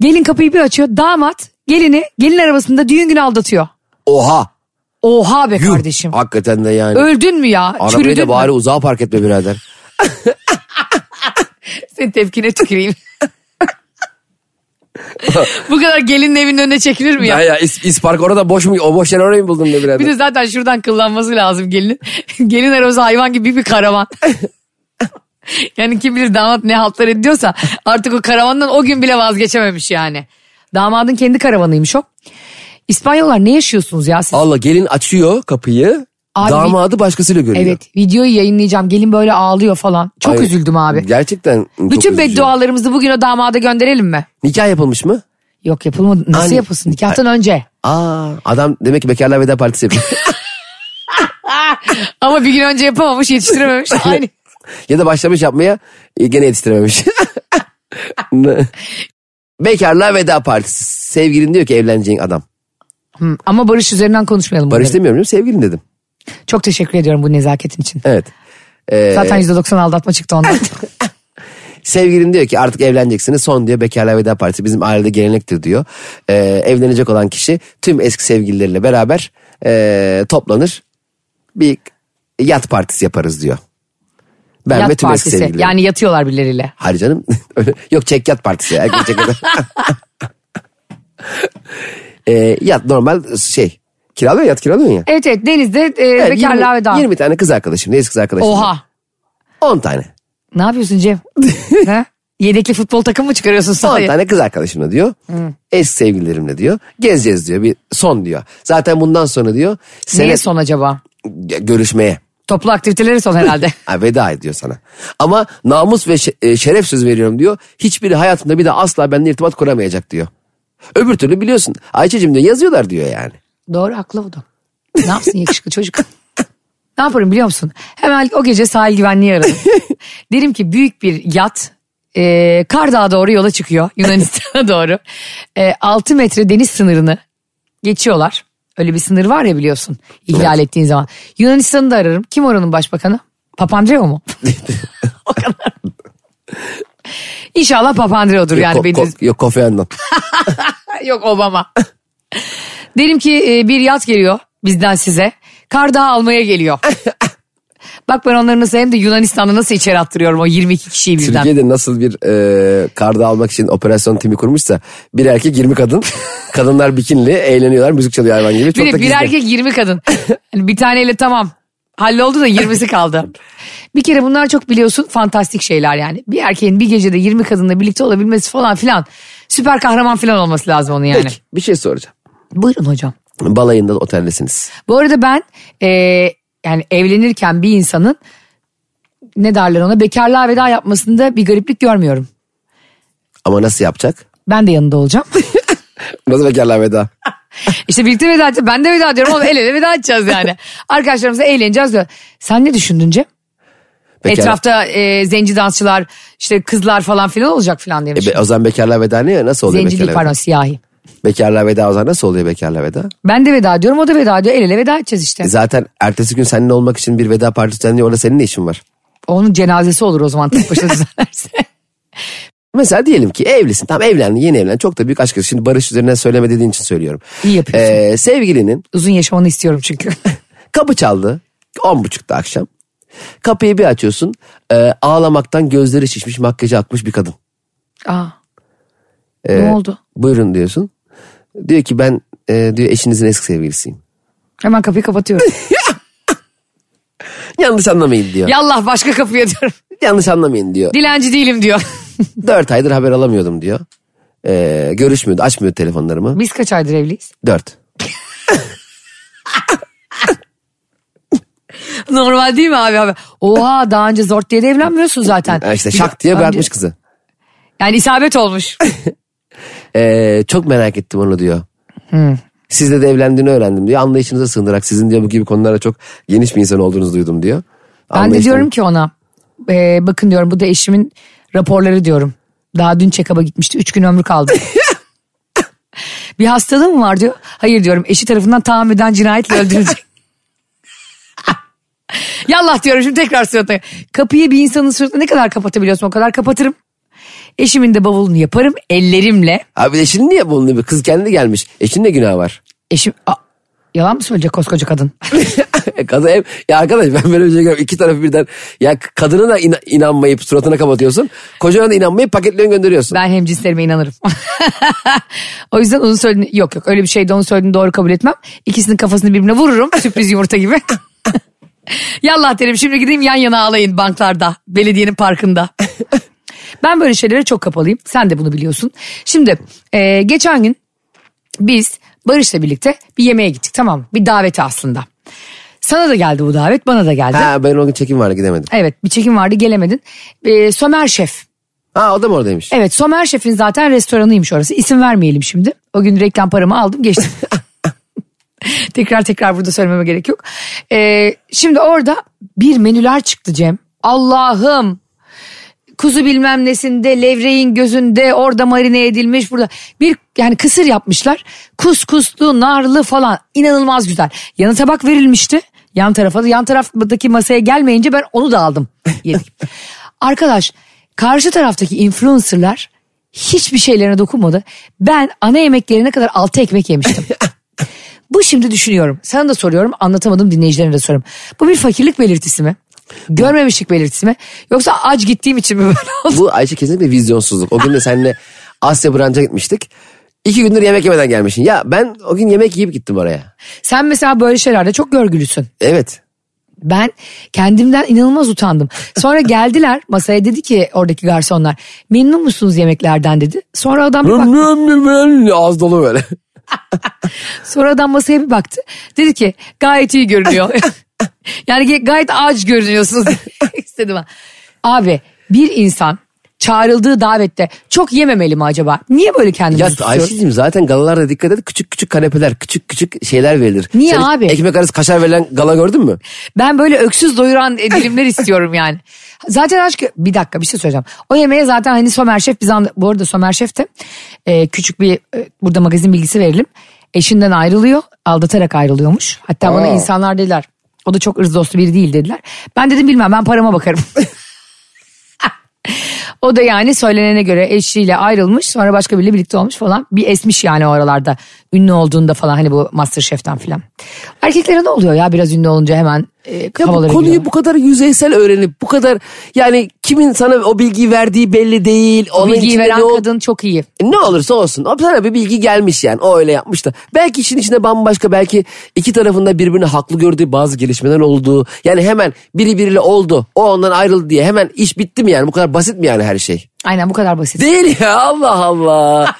[SPEAKER 2] Gelin kapıyı bir açıyor. Damat gelini gelin arabasında düğün günü aldatıyor.
[SPEAKER 3] Oha.
[SPEAKER 2] Oha be
[SPEAKER 3] yuh.
[SPEAKER 2] kardeşim.
[SPEAKER 3] Hakikaten de yani.
[SPEAKER 2] Öldün mü ya?
[SPEAKER 3] Arabayı
[SPEAKER 2] Çürüdün
[SPEAKER 3] da bari
[SPEAKER 2] mü?
[SPEAKER 3] uzağa park etme birader.
[SPEAKER 2] Senin tepkine tüküreyim. Bu kadar gelinin evinin önüne çekilir mi ya?
[SPEAKER 3] Ya ya is, park orada boş mu? O boş yer orayı mı buldun be birader?
[SPEAKER 2] Bir de zaten şuradan kıllanması lazım gelinin. Gelin arabası hayvan gibi bir karavan. yani kim bilir damat ne haltlar ediyorsa artık o karavandan o gün bile vazgeçememiş yani. Damadın kendi karavanıymış o. İspanyollar ne yaşıyorsunuz ya siz?
[SPEAKER 3] Allah gelin açıyor kapıyı.
[SPEAKER 2] Abi-
[SPEAKER 3] damadı başkasıyla görüyor.
[SPEAKER 2] evet videoyu yayınlayacağım gelin böyle ağlıyor falan. Çok
[SPEAKER 3] Ay,
[SPEAKER 2] üzüldüm abi.
[SPEAKER 3] Gerçekten çok
[SPEAKER 2] Bütün
[SPEAKER 3] üzücü.
[SPEAKER 2] beddualarımızı bugün o damada gönderelim mi?
[SPEAKER 3] Nikah yapılmış mı?
[SPEAKER 2] Yok yapılmadı. Nasıl
[SPEAKER 3] Hani-
[SPEAKER 2] yapılsın nikahtan önce?
[SPEAKER 3] Aa adam demek ki bekarlar veda partisi yapıyor.
[SPEAKER 2] Ama bir gün önce yapamamış yetiştirememiş. Aynı.
[SPEAKER 3] ya da başlamış yapmaya e, gene yetiştirememiş. bekarlar veda partisi. Sevgilin diyor ki evleneceğin adam.
[SPEAKER 2] Hı, Ama Barış üzerinden konuşmayalım.
[SPEAKER 3] Barış
[SPEAKER 2] bunları.
[SPEAKER 3] demiyorum değil mi? Sevgilin dedim.
[SPEAKER 2] Çok teşekkür ediyorum bu nezaketin için.
[SPEAKER 3] Evet. Ee,
[SPEAKER 2] Zaten %90 aldatma çıktı ondan.
[SPEAKER 3] Sevgilin diyor ki artık evleneceksiniz son diyor bekarlar veda partisi bizim ailede gelenektir diyor. Ee, evlenecek olan kişi tüm eski sevgilileriyle beraber ee, toplanır bir yat partisi yaparız diyor. Ben ve
[SPEAKER 2] Yat
[SPEAKER 3] tüm eski
[SPEAKER 2] partisi.
[SPEAKER 3] sevgililerim.
[SPEAKER 2] Yani yatıyorlar birileriyle.
[SPEAKER 3] Hayır canım. Öyle- Yok çek yat partisi ya. Erkek çek yat. Ee, yat normal şey kiralıyor yat kiralıyorsun ya.
[SPEAKER 2] Evet evet denizde e,
[SPEAKER 3] Evet,
[SPEAKER 2] bekarlığa
[SPEAKER 3] 20,
[SPEAKER 2] veda.
[SPEAKER 3] 20 tane kız arkadaşım. Neyse kız arkadaşım.
[SPEAKER 2] Oha.
[SPEAKER 3] 10 tane.
[SPEAKER 2] Ne yapıyorsun Cem? ha? Yedekli futbol takım mı çıkarıyorsun
[SPEAKER 3] 10
[SPEAKER 2] sahaya?
[SPEAKER 3] tane kız arkadaşımla diyor.
[SPEAKER 2] Hmm.
[SPEAKER 3] Eski sevgililerimle diyor. Gezeceğiz diyor. Bir son diyor. Zaten bundan sonra diyor.
[SPEAKER 2] Neye
[SPEAKER 3] Sene
[SPEAKER 2] son acaba?
[SPEAKER 3] görüşmeye.
[SPEAKER 2] Toplu aktiviteleri son herhalde.
[SPEAKER 3] Ha, veda ediyor sana. Ama namus ve şe- e, şeref söz veriyorum diyor. Hiçbiri hayatında bir de asla benimle irtibat kuramayacak diyor. Öbür türlü biliyorsun. Ayça'cığım diyor yazıyorlar diyor yani.
[SPEAKER 2] Doğru haklı bu da. Ne yapsın yakışıklı çocuk? Ne yaparım biliyor musun? Hemen o gece sahil güvenliği ararım. Derim ki büyük bir yat e, Kardağ'a doğru yola çıkıyor. Yunanistan'a doğru. E, 6 metre deniz sınırını geçiyorlar. Öyle bir sınır var ya biliyorsun ihlal ettiğin zaman. Yunanistan'ı da ararım. Kim oranın başbakanı? Papandreou mu? o kadar. İnşallah Papandreou'dur yani.
[SPEAKER 3] yok, E, ko-
[SPEAKER 2] beni
[SPEAKER 3] ko- yok Kofi Annan.
[SPEAKER 2] Yok Obama. Derim ki e, bir yat geliyor bizden size. Kar dağı almaya geliyor. Bak ben onları nasıl hem de Yunanistan'da nasıl içeri attırıyorum o 22 kişiyi birden.
[SPEAKER 3] Türkiye'de nasıl bir e, karda almak için operasyon timi kurmuşsa bir erkek 20 kadın. Kadınlar bikinli eğleniyorlar müzik çalıyor hayvan gibi. Çok
[SPEAKER 2] bir,
[SPEAKER 3] da
[SPEAKER 2] bir
[SPEAKER 3] gizli.
[SPEAKER 2] erkek 20 kadın. Hani bir taneyle tamam. Halloldu da 20'si kaldı. Bir kere bunlar çok biliyorsun fantastik şeyler yani. Bir erkeğin bir gecede 20 kadınla birlikte olabilmesi falan filan. Süper kahraman filan olması lazım onun yani.
[SPEAKER 3] Peki bir şey soracağım.
[SPEAKER 2] Buyurun hocam.
[SPEAKER 3] Balayında oteldesiniz.
[SPEAKER 2] Bu arada ben e, yani evlenirken bir insanın ne derler ona bekarlığa veda yapmasında bir gariplik görmüyorum.
[SPEAKER 3] Ama nasıl yapacak?
[SPEAKER 2] Ben de yanında olacağım.
[SPEAKER 3] Nasıl bekarlar veda?
[SPEAKER 2] işte birlikte veda edeceğiz. Ben de veda ediyorum ama el ele veda edeceğiz yani. Arkadaşlarımızla eğleneceğiz diyor. Sen ne düşündün Cem?
[SPEAKER 3] Bekar-
[SPEAKER 2] Etrafta e, zenci dansçılar işte kızlar falan filan olacak filan
[SPEAKER 3] E,
[SPEAKER 2] demiş.
[SPEAKER 3] be- o zaman bekarlar veda ne ya? Nasıl oluyor
[SPEAKER 2] zenci değil
[SPEAKER 3] bekarlar
[SPEAKER 2] pardon
[SPEAKER 3] veda?
[SPEAKER 2] siyahi.
[SPEAKER 3] Bekarlar veda o zaman nasıl oluyor bekarlar veda?
[SPEAKER 2] Ben de veda ediyorum o da veda ediyor el ele veda edeceğiz işte.
[SPEAKER 3] E, zaten ertesi gün seninle olmak için bir veda partisi düzenliyor. Orada senin ne işin var?
[SPEAKER 2] Onun cenazesi olur o zaman tek başına düzenlerse.
[SPEAKER 3] Mesela diyelim ki evlisin. Tam evlendin yeni evlendin. Çok da büyük aşk. acısı. Şimdi barış üzerine söyleme dediğin için söylüyorum.
[SPEAKER 2] İyi yapıyorsun.
[SPEAKER 3] Ee, sevgilinin
[SPEAKER 2] Uzun yaşamanı istiyorum çünkü.
[SPEAKER 3] kapı çaldı. On buçukta akşam. Kapıyı bir açıyorsun. e, ağlamaktan gözleri şişmiş makyajı akmış bir kadın.
[SPEAKER 2] Aa,
[SPEAKER 3] Ee,
[SPEAKER 2] ne oldu?
[SPEAKER 3] Buyurun diyorsun. Diyor ki ben e, diyor eşinizin eski sevgilisiyim.
[SPEAKER 2] Hemen kapıyı kapatıyorum.
[SPEAKER 3] Yanlış anlamayın diyor.
[SPEAKER 2] Yallah başka kapıya diyorum.
[SPEAKER 3] Yanlış anlamayın diyor.
[SPEAKER 2] Dilenci değilim diyor.
[SPEAKER 3] Dört aydır haber alamıyordum diyor. Ee, görüşmüyordu açmıyor telefonlarımı.
[SPEAKER 2] Biz kaç aydır evliyiz?
[SPEAKER 3] Dört.
[SPEAKER 2] Normal değil mi abi abi? Oha daha önce zort diye de evlenmiyorsun zaten.
[SPEAKER 3] Ha işte
[SPEAKER 2] Bir-
[SPEAKER 3] şak diye
[SPEAKER 2] önce-
[SPEAKER 3] bırakmış kızı.
[SPEAKER 2] Yani isabet olmuş.
[SPEAKER 3] Ee, çok merak ettim onu diyor. Sizle de evlendiğini öğrendim diyor. Anlayışınıza sığınarak sizin diyor bu gibi konulara çok geniş bir insan olduğunuzu duydum diyor.
[SPEAKER 2] Ben de
[SPEAKER 3] Anlayışla-
[SPEAKER 2] diyorum ki ona e, bakın diyorum bu da eşimin raporları diyorum. Daha dün check-up'a gitmişti 3 gün ömrü kaldı. bir hastalığı mı var diyor. Hayır diyorum eşi tarafından tahammüden cinayetle öldürülecek. Yallah diyorum şimdi tekrar suratına. Kapıyı bir insanın suratına ne kadar kapatabiliyorsun o kadar kapatırım. Eşimin de bavulunu yaparım ellerimle.
[SPEAKER 3] Abi eşin niye bunun gibi? Kız kendi gelmiş. Eşin ne günah var?
[SPEAKER 2] Eşim Aa, yalan mı söyleyecek koskoca kadın?
[SPEAKER 3] E Kadın ev, ya arkadaş ben böyle bir şey görüyorum. İki tarafı birden ya kadına da ina- inanmayıp suratına kapatıyorsun. Kocana da inanmayıp paketlerini gönderiyorsun.
[SPEAKER 2] Ben hemcinslerime inanırım. o yüzden onu söylediğini yok yok öyle bir şeyde onu söylediğini doğru kabul etmem. İkisinin kafasını birbirine vururum sürpriz yumurta gibi. Yallah derim şimdi gideyim yan yana ağlayın banklarda belediyenin parkında. ben böyle şeylere çok kapalıyım sen de bunu biliyorsun. Şimdi e, geçen gün biz Barış'la birlikte bir yemeğe gittik tamam mı? Bir daveti aslında. Sana da geldi bu davet bana da geldi.
[SPEAKER 3] Ha ben o gün çekim vardı gidemedim.
[SPEAKER 2] Evet bir çekim vardı gelemedin. E, Somer Şef
[SPEAKER 3] Ha o da mı oradaymış?
[SPEAKER 2] Evet Somer Şef'in zaten restoranıymış orası. İsim vermeyelim şimdi. O gün reklam paramı aldım geçtim. tekrar tekrar burada söylememe gerek yok. Ee, şimdi orada bir menüler çıktı Cem. Allah'ım. Kuzu bilmem nesinde, levreğin gözünde, orada marine edilmiş burada. Bir yani kısır yapmışlar. Kuskuslu, narlı falan inanılmaz güzel. Yanı tabak verilmişti. Yan tarafa da yan taraftaki masaya gelmeyince ben onu da aldım. Yedik. Arkadaş karşı taraftaki influencerlar hiçbir şeylerine dokunmadı. Ben ana yemeklerine kadar altı ekmek yemiştim. Bu şimdi düşünüyorum. Sana da soruyorum anlatamadım dinleyicilerine de soruyorum. Bu bir fakirlik belirtisi mi? Görmemişlik belirtisi mi? Yoksa aç gittiğim için mi böyle oldu?
[SPEAKER 3] Bu Ayşe kesinlikle vizyonsuzluk. O gün de seninle Asya Branch'a gitmiştik. İki gündür yemek yemeden gelmişsin. Ya ben o gün yemek yiyip gittim oraya.
[SPEAKER 2] Sen mesela böyle şeylerde çok görgülüsün.
[SPEAKER 3] Evet.
[SPEAKER 2] Ben kendimden inanılmaz utandım. Sonra geldiler masaya dedi ki oradaki garsonlar memnun musunuz yemeklerden dedi. Sonra adam bir baktı.
[SPEAKER 3] Ağız dolu böyle.
[SPEAKER 2] Sonra adam masaya bir baktı. Dedi ki gayet iyi görünüyor. yani ge- gayet aç görünüyorsunuz istedim ben. Abi bir insan çağrıldığı davette çok yememeli mi acaba? Niye böyle kendimizi
[SPEAKER 3] Ya
[SPEAKER 2] tutuyoruz?
[SPEAKER 3] Ayşe'cim zaten galalarda dikkat et küçük küçük kanepeler küçük küçük şeyler verilir.
[SPEAKER 2] Niye
[SPEAKER 3] Sen hiç
[SPEAKER 2] abi?
[SPEAKER 3] Ekmek arası kaşar verilen gala gördün mü?
[SPEAKER 2] Ben böyle öksüz doyuran e, dilimler istiyorum yani. Zaten aşk bir dakika bir şey söyleyeceğim. O yemeğe zaten hani Somer Şef biz anla- bu arada Somer Şef de e, küçük bir e, burada magazin bilgisi verelim. Eşinden ayrılıyor aldatarak ayrılıyormuş. Hatta bana
[SPEAKER 3] Aa.
[SPEAKER 2] insanlar dediler o da çok ırz dostu biri değil dediler. Ben dedim bilmem ben parama bakarım. O da yani söylenene göre eşiyle ayrılmış sonra başka biriyle birlikte olmuş falan. Bir esmiş yani o aralarda ünlü olduğunda falan hani bu Masterchef'ten filan. Erkeklere ne oluyor ya biraz ünlü olunca hemen e,
[SPEAKER 3] Ya bu
[SPEAKER 2] havalara
[SPEAKER 3] konuyu
[SPEAKER 2] giriyorlar.
[SPEAKER 3] bu kadar yüzeysel öğrenip bu kadar yani kimin sana o bilgiyi verdiği belli değil.
[SPEAKER 2] O
[SPEAKER 3] onun
[SPEAKER 2] bilgiyi
[SPEAKER 3] içinde
[SPEAKER 2] veren
[SPEAKER 3] ne ol-
[SPEAKER 2] kadın çok iyi.
[SPEAKER 3] ne olursa olsun. O sana bir bilgi gelmiş yani. O öyle yapmış da. Belki işin içinde bambaşka belki iki tarafında birbirini haklı gördüğü bazı gelişmeler olduğu. Yani hemen biri biriyle oldu. O ondan ayrıldı diye hemen iş bitti mi yani? Bu kadar basit mi yani her şey?
[SPEAKER 2] Aynen bu kadar basit.
[SPEAKER 3] Değil ya Allah Allah.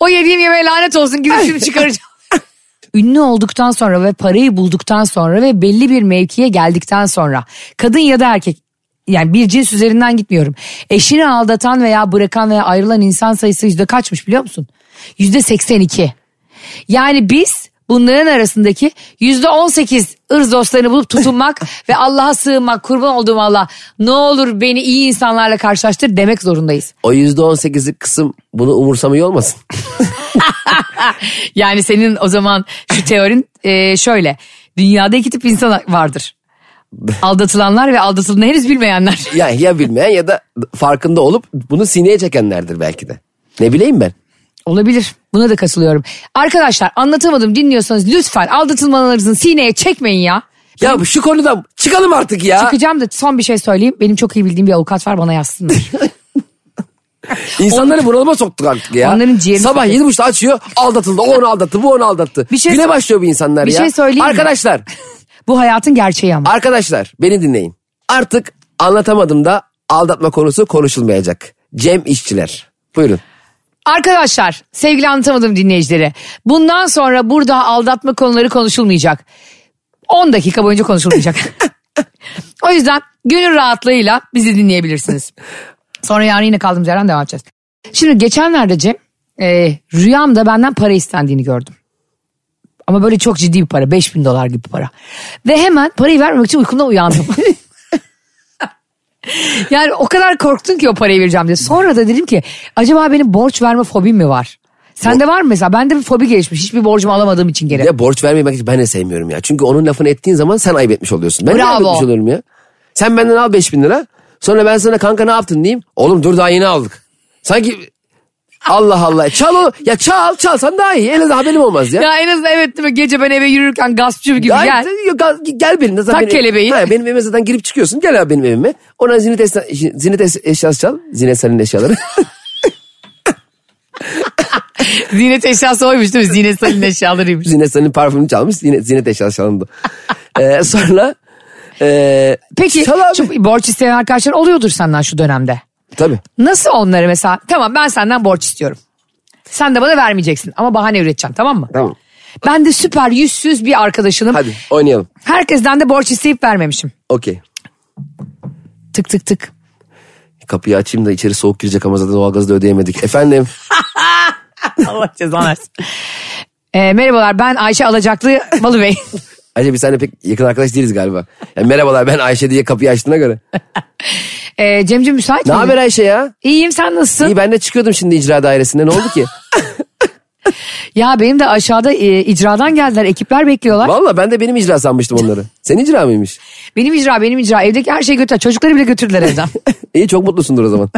[SPEAKER 2] o yediğim yemeğe lanet olsun gidip şimdi çıkaracağım. Ünlü olduktan sonra ve parayı bulduktan sonra ve belli bir mevkiye geldikten sonra kadın ya da erkek yani bir cins üzerinden gitmiyorum. Eşini aldatan veya bırakan veya ayrılan insan sayısı yüzde kaçmış biliyor musun? Yüzde 82. Yani biz bunların arasındaki yüzde 18 ırz dostlarını bulup tutunmak ve Allah'a sığınmak kurban olduğum Allah ne olur beni iyi insanlarla karşılaştır demek zorundayız.
[SPEAKER 3] o yüzde on sekizlik kısım bunu umursamıyor olmasın.
[SPEAKER 2] Yani senin o zaman şu teorin e, şöyle. Dünyada iki tip insan vardır. Aldatılanlar ve aldatıldığını henüz bilmeyenler.
[SPEAKER 3] Ya, ya bilmeyen ya da farkında olup bunu sineye çekenlerdir belki de. Ne bileyim ben.
[SPEAKER 2] Olabilir. Buna da katılıyorum. Arkadaşlar anlatamadım dinliyorsanız lütfen aldatılmalarınızı sineye çekmeyin ya.
[SPEAKER 3] Ya şu konudan çıkalım artık ya.
[SPEAKER 2] Çıkacağım da son bir şey söyleyeyim. Benim çok iyi bildiğim bir avukat var bana yazsınlar.
[SPEAKER 3] İnsanları bunalıma soktuk artık ya.
[SPEAKER 2] Onların ciğerini
[SPEAKER 3] Sabah
[SPEAKER 2] soktuk.
[SPEAKER 3] yedi buçukta açıyor aldatıldı o onu aldattı bu onu aldattı.
[SPEAKER 2] Bir şey
[SPEAKER 3] Güne
[SPEAKER 2] sor-
[SPEAKER 3] başlıyor bu insanlar
[SPEAKER 2] Bir
[SPEAKER 3] ya.
[SPEAKER 2] şey söyleyeyim mi?
[SPEAKER 3] Arkadaşlar
[SPEAKER 2] Bu hayatın gerçeği ama.
[SPEAKER 3] arkadaşlar beni dinleyin. Artık anlatamadım da aldatma konusu konuşulmayacak. Cem işçiler. Buyurun.
[SPEAKER 2] Arkadaşlar sevgili anlatamadım dinleyicilere. Bundan sonra burada aldatma konuları konuşulmayacak. 10 dakika boyunca konuşulmayacak. o yüzden gönül rahatlığıyla bizi dinleyebilirsiniz. Sonra yarın yine kaldığımız yerden devam edeceğiz. Şimdi geçenlerde Cem e, rüyamda benden para istendiğini gördüm. Ama böyle çok ciddi bir para. 5000 dolar gibi para. Ve hemen parayı vermemek için uykumdan uyandım. Yani o kadar korktun ki o parayı vereceğim diye. Sonra da dedim ki acaba benim borç verme fobim mi var? Sende var mı mesela? Bende bir fobi gelişmiş. Hiçbir borcumu alamadığım için geri.
[SPEAKER 3] Ya borç vermeyi ben- ben de sevmiyorum ya. Çünkü onun lafını ettiğin zaman sen ayıp etmiş oluyorsun. Ben de
[SPEAKER 2] Bravo.
[SPEAKER 3] ayıp etmiş oluyorum ya. Sen benden al 5000 lira. Sonra ben sana kanka ne yaptın diyeyim. Oğlum dur daha yeni aldık. Sanki Allah Allah. E, Çal o. Ya çal çalsan daha iyi. En azından haberim olmaz ya.
[SPEAKER 2] Ya en azından evet değil mi? Gece ben eve yürürken gaspçı gibi
[SPEAKER 3] Ay,
[SPEAKER 2] gel.
[SPEAKER 3] yok, gel, gel benimle. Zaten
[SPEAKER 2] Tak
[SPEAKER 3] benim-
[SPEAKER 2] kelebeği.
[SPEAKER 3] Ha, benim evime zaten girip çıkıyorsun. Gel abi benim evime. Ona zinet, esna, zinet es- eşyası çal. Zinet senin eşyaları.
[SPEAKER 2] Zinet eşyası oymuş değil mi? Zinet Salih'in eşyalarıymış.
[SPEAKER 3] zinet senin parfümünü çalmış. Zinet, zinet eşyası çalındı. Ee, sonra... E,
[SPEAKER 2] Peki
[SPEAKER 3] çal abi.
[SPEAKER 2] şu borç isteyen arkadaşlar oluyordur senden şu dönemde.
[SPEAKER 3] Tabii.
[SPEAKER 2] Nasıl onları mesela tamam ben senden borç istiyorum. Sen de bana vermeyeceksin ama bahane üreteceksin tamam mı?
[SPEAKER 3] Tamam.
[SPEAKER 2] Ben de süper yüzsüz bir arkadaşınım.
[SPEAKER 3] Hadi oynayalım.
[SPEAKER 2] Herkesten de borç isteyip vermemişim.
[SPEAKER 3] Okey.
[SPEAKER 2] Tık tık tık.
[SPEAKER 3] Kapıyı açayım da içeri soğuk girecek ama zaten doğalgazı da ödeyemedik. Efendim
[SPEAKER 2] Allah cezanı versin. Ee, merhabalar ben Ayşe Alacaklı Malı Bey.
[SPEAKER 3] Ayşe biz seninle pek yakın arkadaş değiliz galiba. Ya, merhabalar ben Ayşe diye kapıyı açtığına göre.
[SPEAKER 2] Ee, Cemcim müsait
[SPEAKER 3] Ne
[SPEAKER 2] miydin?
[SPEAKER 3] haber Ayşe ya?
[SPEAKER 2] İyiyim sen nasılsın?
[SPEAKER 3] İyi ben de çıkıyordum şimdi icra dairesinde ne oldu ki?
[SPEAKER 2] Ya benim de aşağıda e, icradan geldiler. Ekipler bekliyorlar.
[SPEAKER 3] Valla ben de benim icra sanmıştım onları. Senin icra mıymış?
[SPEAKER 2] Benim icra, benim icra. Evdeki her şeyi götürdüler. Çocukları bile götürdüler evden.
[SPEAKER 3] İyi çok mutlusundur o zaman.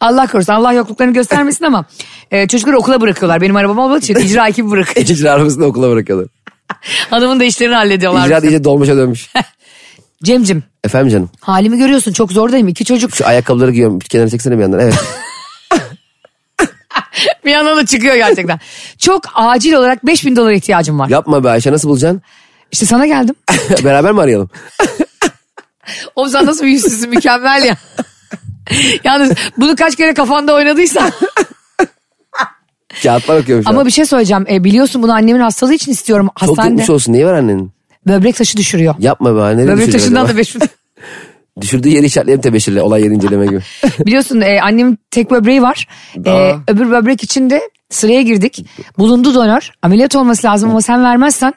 [SPEAKER 2] Allah korusun. Allah yokluklarını göstermesin ama e, çocukları okula bırakıyorlar. Benim arabam olmadığı için icra ekibi bırakıyor.
[SPEAKER 3] icra arabasını okula bırakıyorlar.
[SPEAKER 2] Hanımın da işlerini hallediyorlar.
[SPEAKER 3] İcra iyice dolmuşa dönmüş.
[SPEAKER 2] Cemcim
[SPEAKER 3] Efendim canım
[SPEAKER 2] halimi görüyorsun. Çok zordayım. İki çocuk
[SPEAKER 3] şu ayakkabıları giyiyorum. Bir kenara çeksene bir yandan. Evet.
[SPEAKER 2] bir yandan da çıkıyor gerçekten. Çok acil olarak 5000 dolara ihtiyacım var.
[SPEAKER 3] Yapma be Ayşe nasıl bulacaksın?
[SPEAKER 2] İşte sana geldim.
[SPEAKER 3] Beraber mi arayalım?
[SPEAKER 2] Oğlum sen nasıl bir yüzsüzsün mükemmel ya. Yalnız bunu kaç kere kafanda oynadıysan.
[SPEAKER 3] Kağıtlar okuyorum şu an.
[SPEAKER 2] Ama bir şey söyleyeceğim. E, biliyorsun bunu annemin hastalığı için istiyorum.
[SPEAKER 3] Çok
[SPEAKER 2] Hastanede
[SPEAKER 3] gitmiş olsun. Niye var annenin?
[SPEAKER 2] böbrek taşı düşürüyor.
[SPEAKER 3] Yapma be. Nereye
[SPEAKER 2] Böbrek
[SPEAKER 3] düşürdü
[SPEAKER 2] taşından
[SPEAKER 3] acaba?
[SPEAKER 2] da 5000
[SPEAKER 3] Düşürdüğü yeri işaretleyelim tebeşirle. Olay yeri inceleme gibi.
[SPEAKER 2] Biliyorsun e, annemin tek böbreği var. E,
[SPEAKER 3] Aa.
[SPEAKER 2] öbür böbrek için de sıraya girdik. Bulundu donör. Ameliyat olması lazım ama sen vermezsen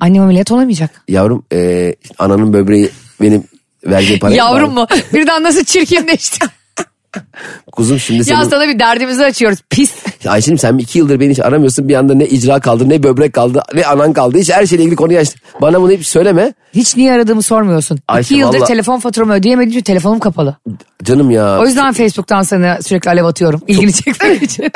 [SPEAKER 2] annem ameliyat olamayacak.
[SPEAKER 3] Yavrum e, ananın böbreği benim verdiğim paraya
[SPEAKER 2] Yavrum
[SPEAKER 3] bağlı.
[SPEAKER 2] mu? Birden nasıl çirkinleşti.
[SPEAKER 3] Kuzum şimdi
[SPEAKER 2] ya
[SPEAKER 3] senin...
[SPEAKER 2] sana bir derdimizi açıyoruz. Pis.
[SPEAKER 3] Ayşe'nim sen iki yıldır beni hiç aramıyorsun. Bir anda ne icra kaldı ne böbrek kaldı ne anan kaldı. Hiç her şeyle ilgili konuyu açtın. Bana bunu hiç söyleme.
[SPEAKER 2] Hiç niye aradığımı sormuyorsun.
[SPEAKER 3] Ayşe,
[SPEAKER 2] İki yıldır
[SPEAKER 3] valla-
[SPEAKER 2] telefon faturamı ödeyemedim çünkü telefonum kapalı.
[SPEAKER 3] Canım ya.
[SPEAKER 2] O yüzden Facebook'tan sana sürekli alev atıyorum. İlgini çekmek için.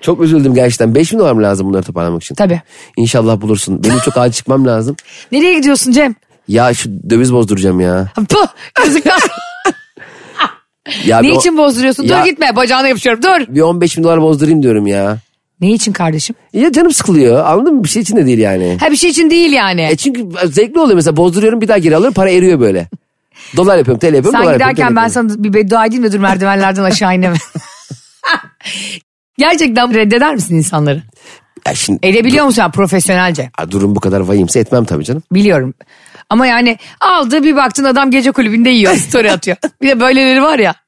[SPEAKER 3] Çok üzüldüm gerçekten. Beş bin dolar mı lazım bunları toparlamak için?
[SPEAKER 2] Tabii.
[SPEAKER 3] İnşallah bulursun. Benim çok acil çıkmam lazım.
[SPEAKER 2] Nereye gidiyorsun Cem?
[SPEAKER 3] Ya şu döviz bozduracağım ya.
[SPEAKER 2] Puh, yazıklar.
[SPEAKER 3] ya
[SPEAKER 2] ne
[SPEAKER 3] bir o-
[SPEAKER 2] için bozduruyorsun?
[SPEAKER 3] Ya-
[SPEAKER 2] Dur gitme bacağına yapışıyorum dur.
[SPEAKER 3] Bir 15 bin dolar bozdurayım diyorum ya.
[SPEAKER 2] Ne için kardeşim?
[SPEAKER 3] Ya canım sıkılıyor anladın mı? Bir şey için de değil yani.
[SPEAKER 2] Ha bir şey için değil yani.
[SPEAKER 3] E çünkü zevkli oluyor mesela bozduruyorum bir daha geri alıyorum para eriyor böyle. Dolar yapıyorum TL yapıyorum
[SPEAKER 2] Sen
[SPEAKER 3] dolar yapıyorum.
[SPEAKER 2] giderken
[SPEAKER 3] TL
[SPEAKER 2] ben
[SPEAKER 3] yapıyorum.
[SPEAKER 2] sana bir beddua edeyim de dur merdivenlerden aşağı ineme. Gerçekten reddeder misin insanları?
[SPEAKER 3] Ya şimdi
[SPEAKER 2] Edebiliyor musun sen profesyonelce?
[SPEAKER 3] Ya durum bu kadar vahimse etmem tabii canım.
[SPEAKER 2] Biliyorum. Ama yani aldı bir baktın adam gece kulübünde yiyor story atıyor. Bir de böyleleri var ya.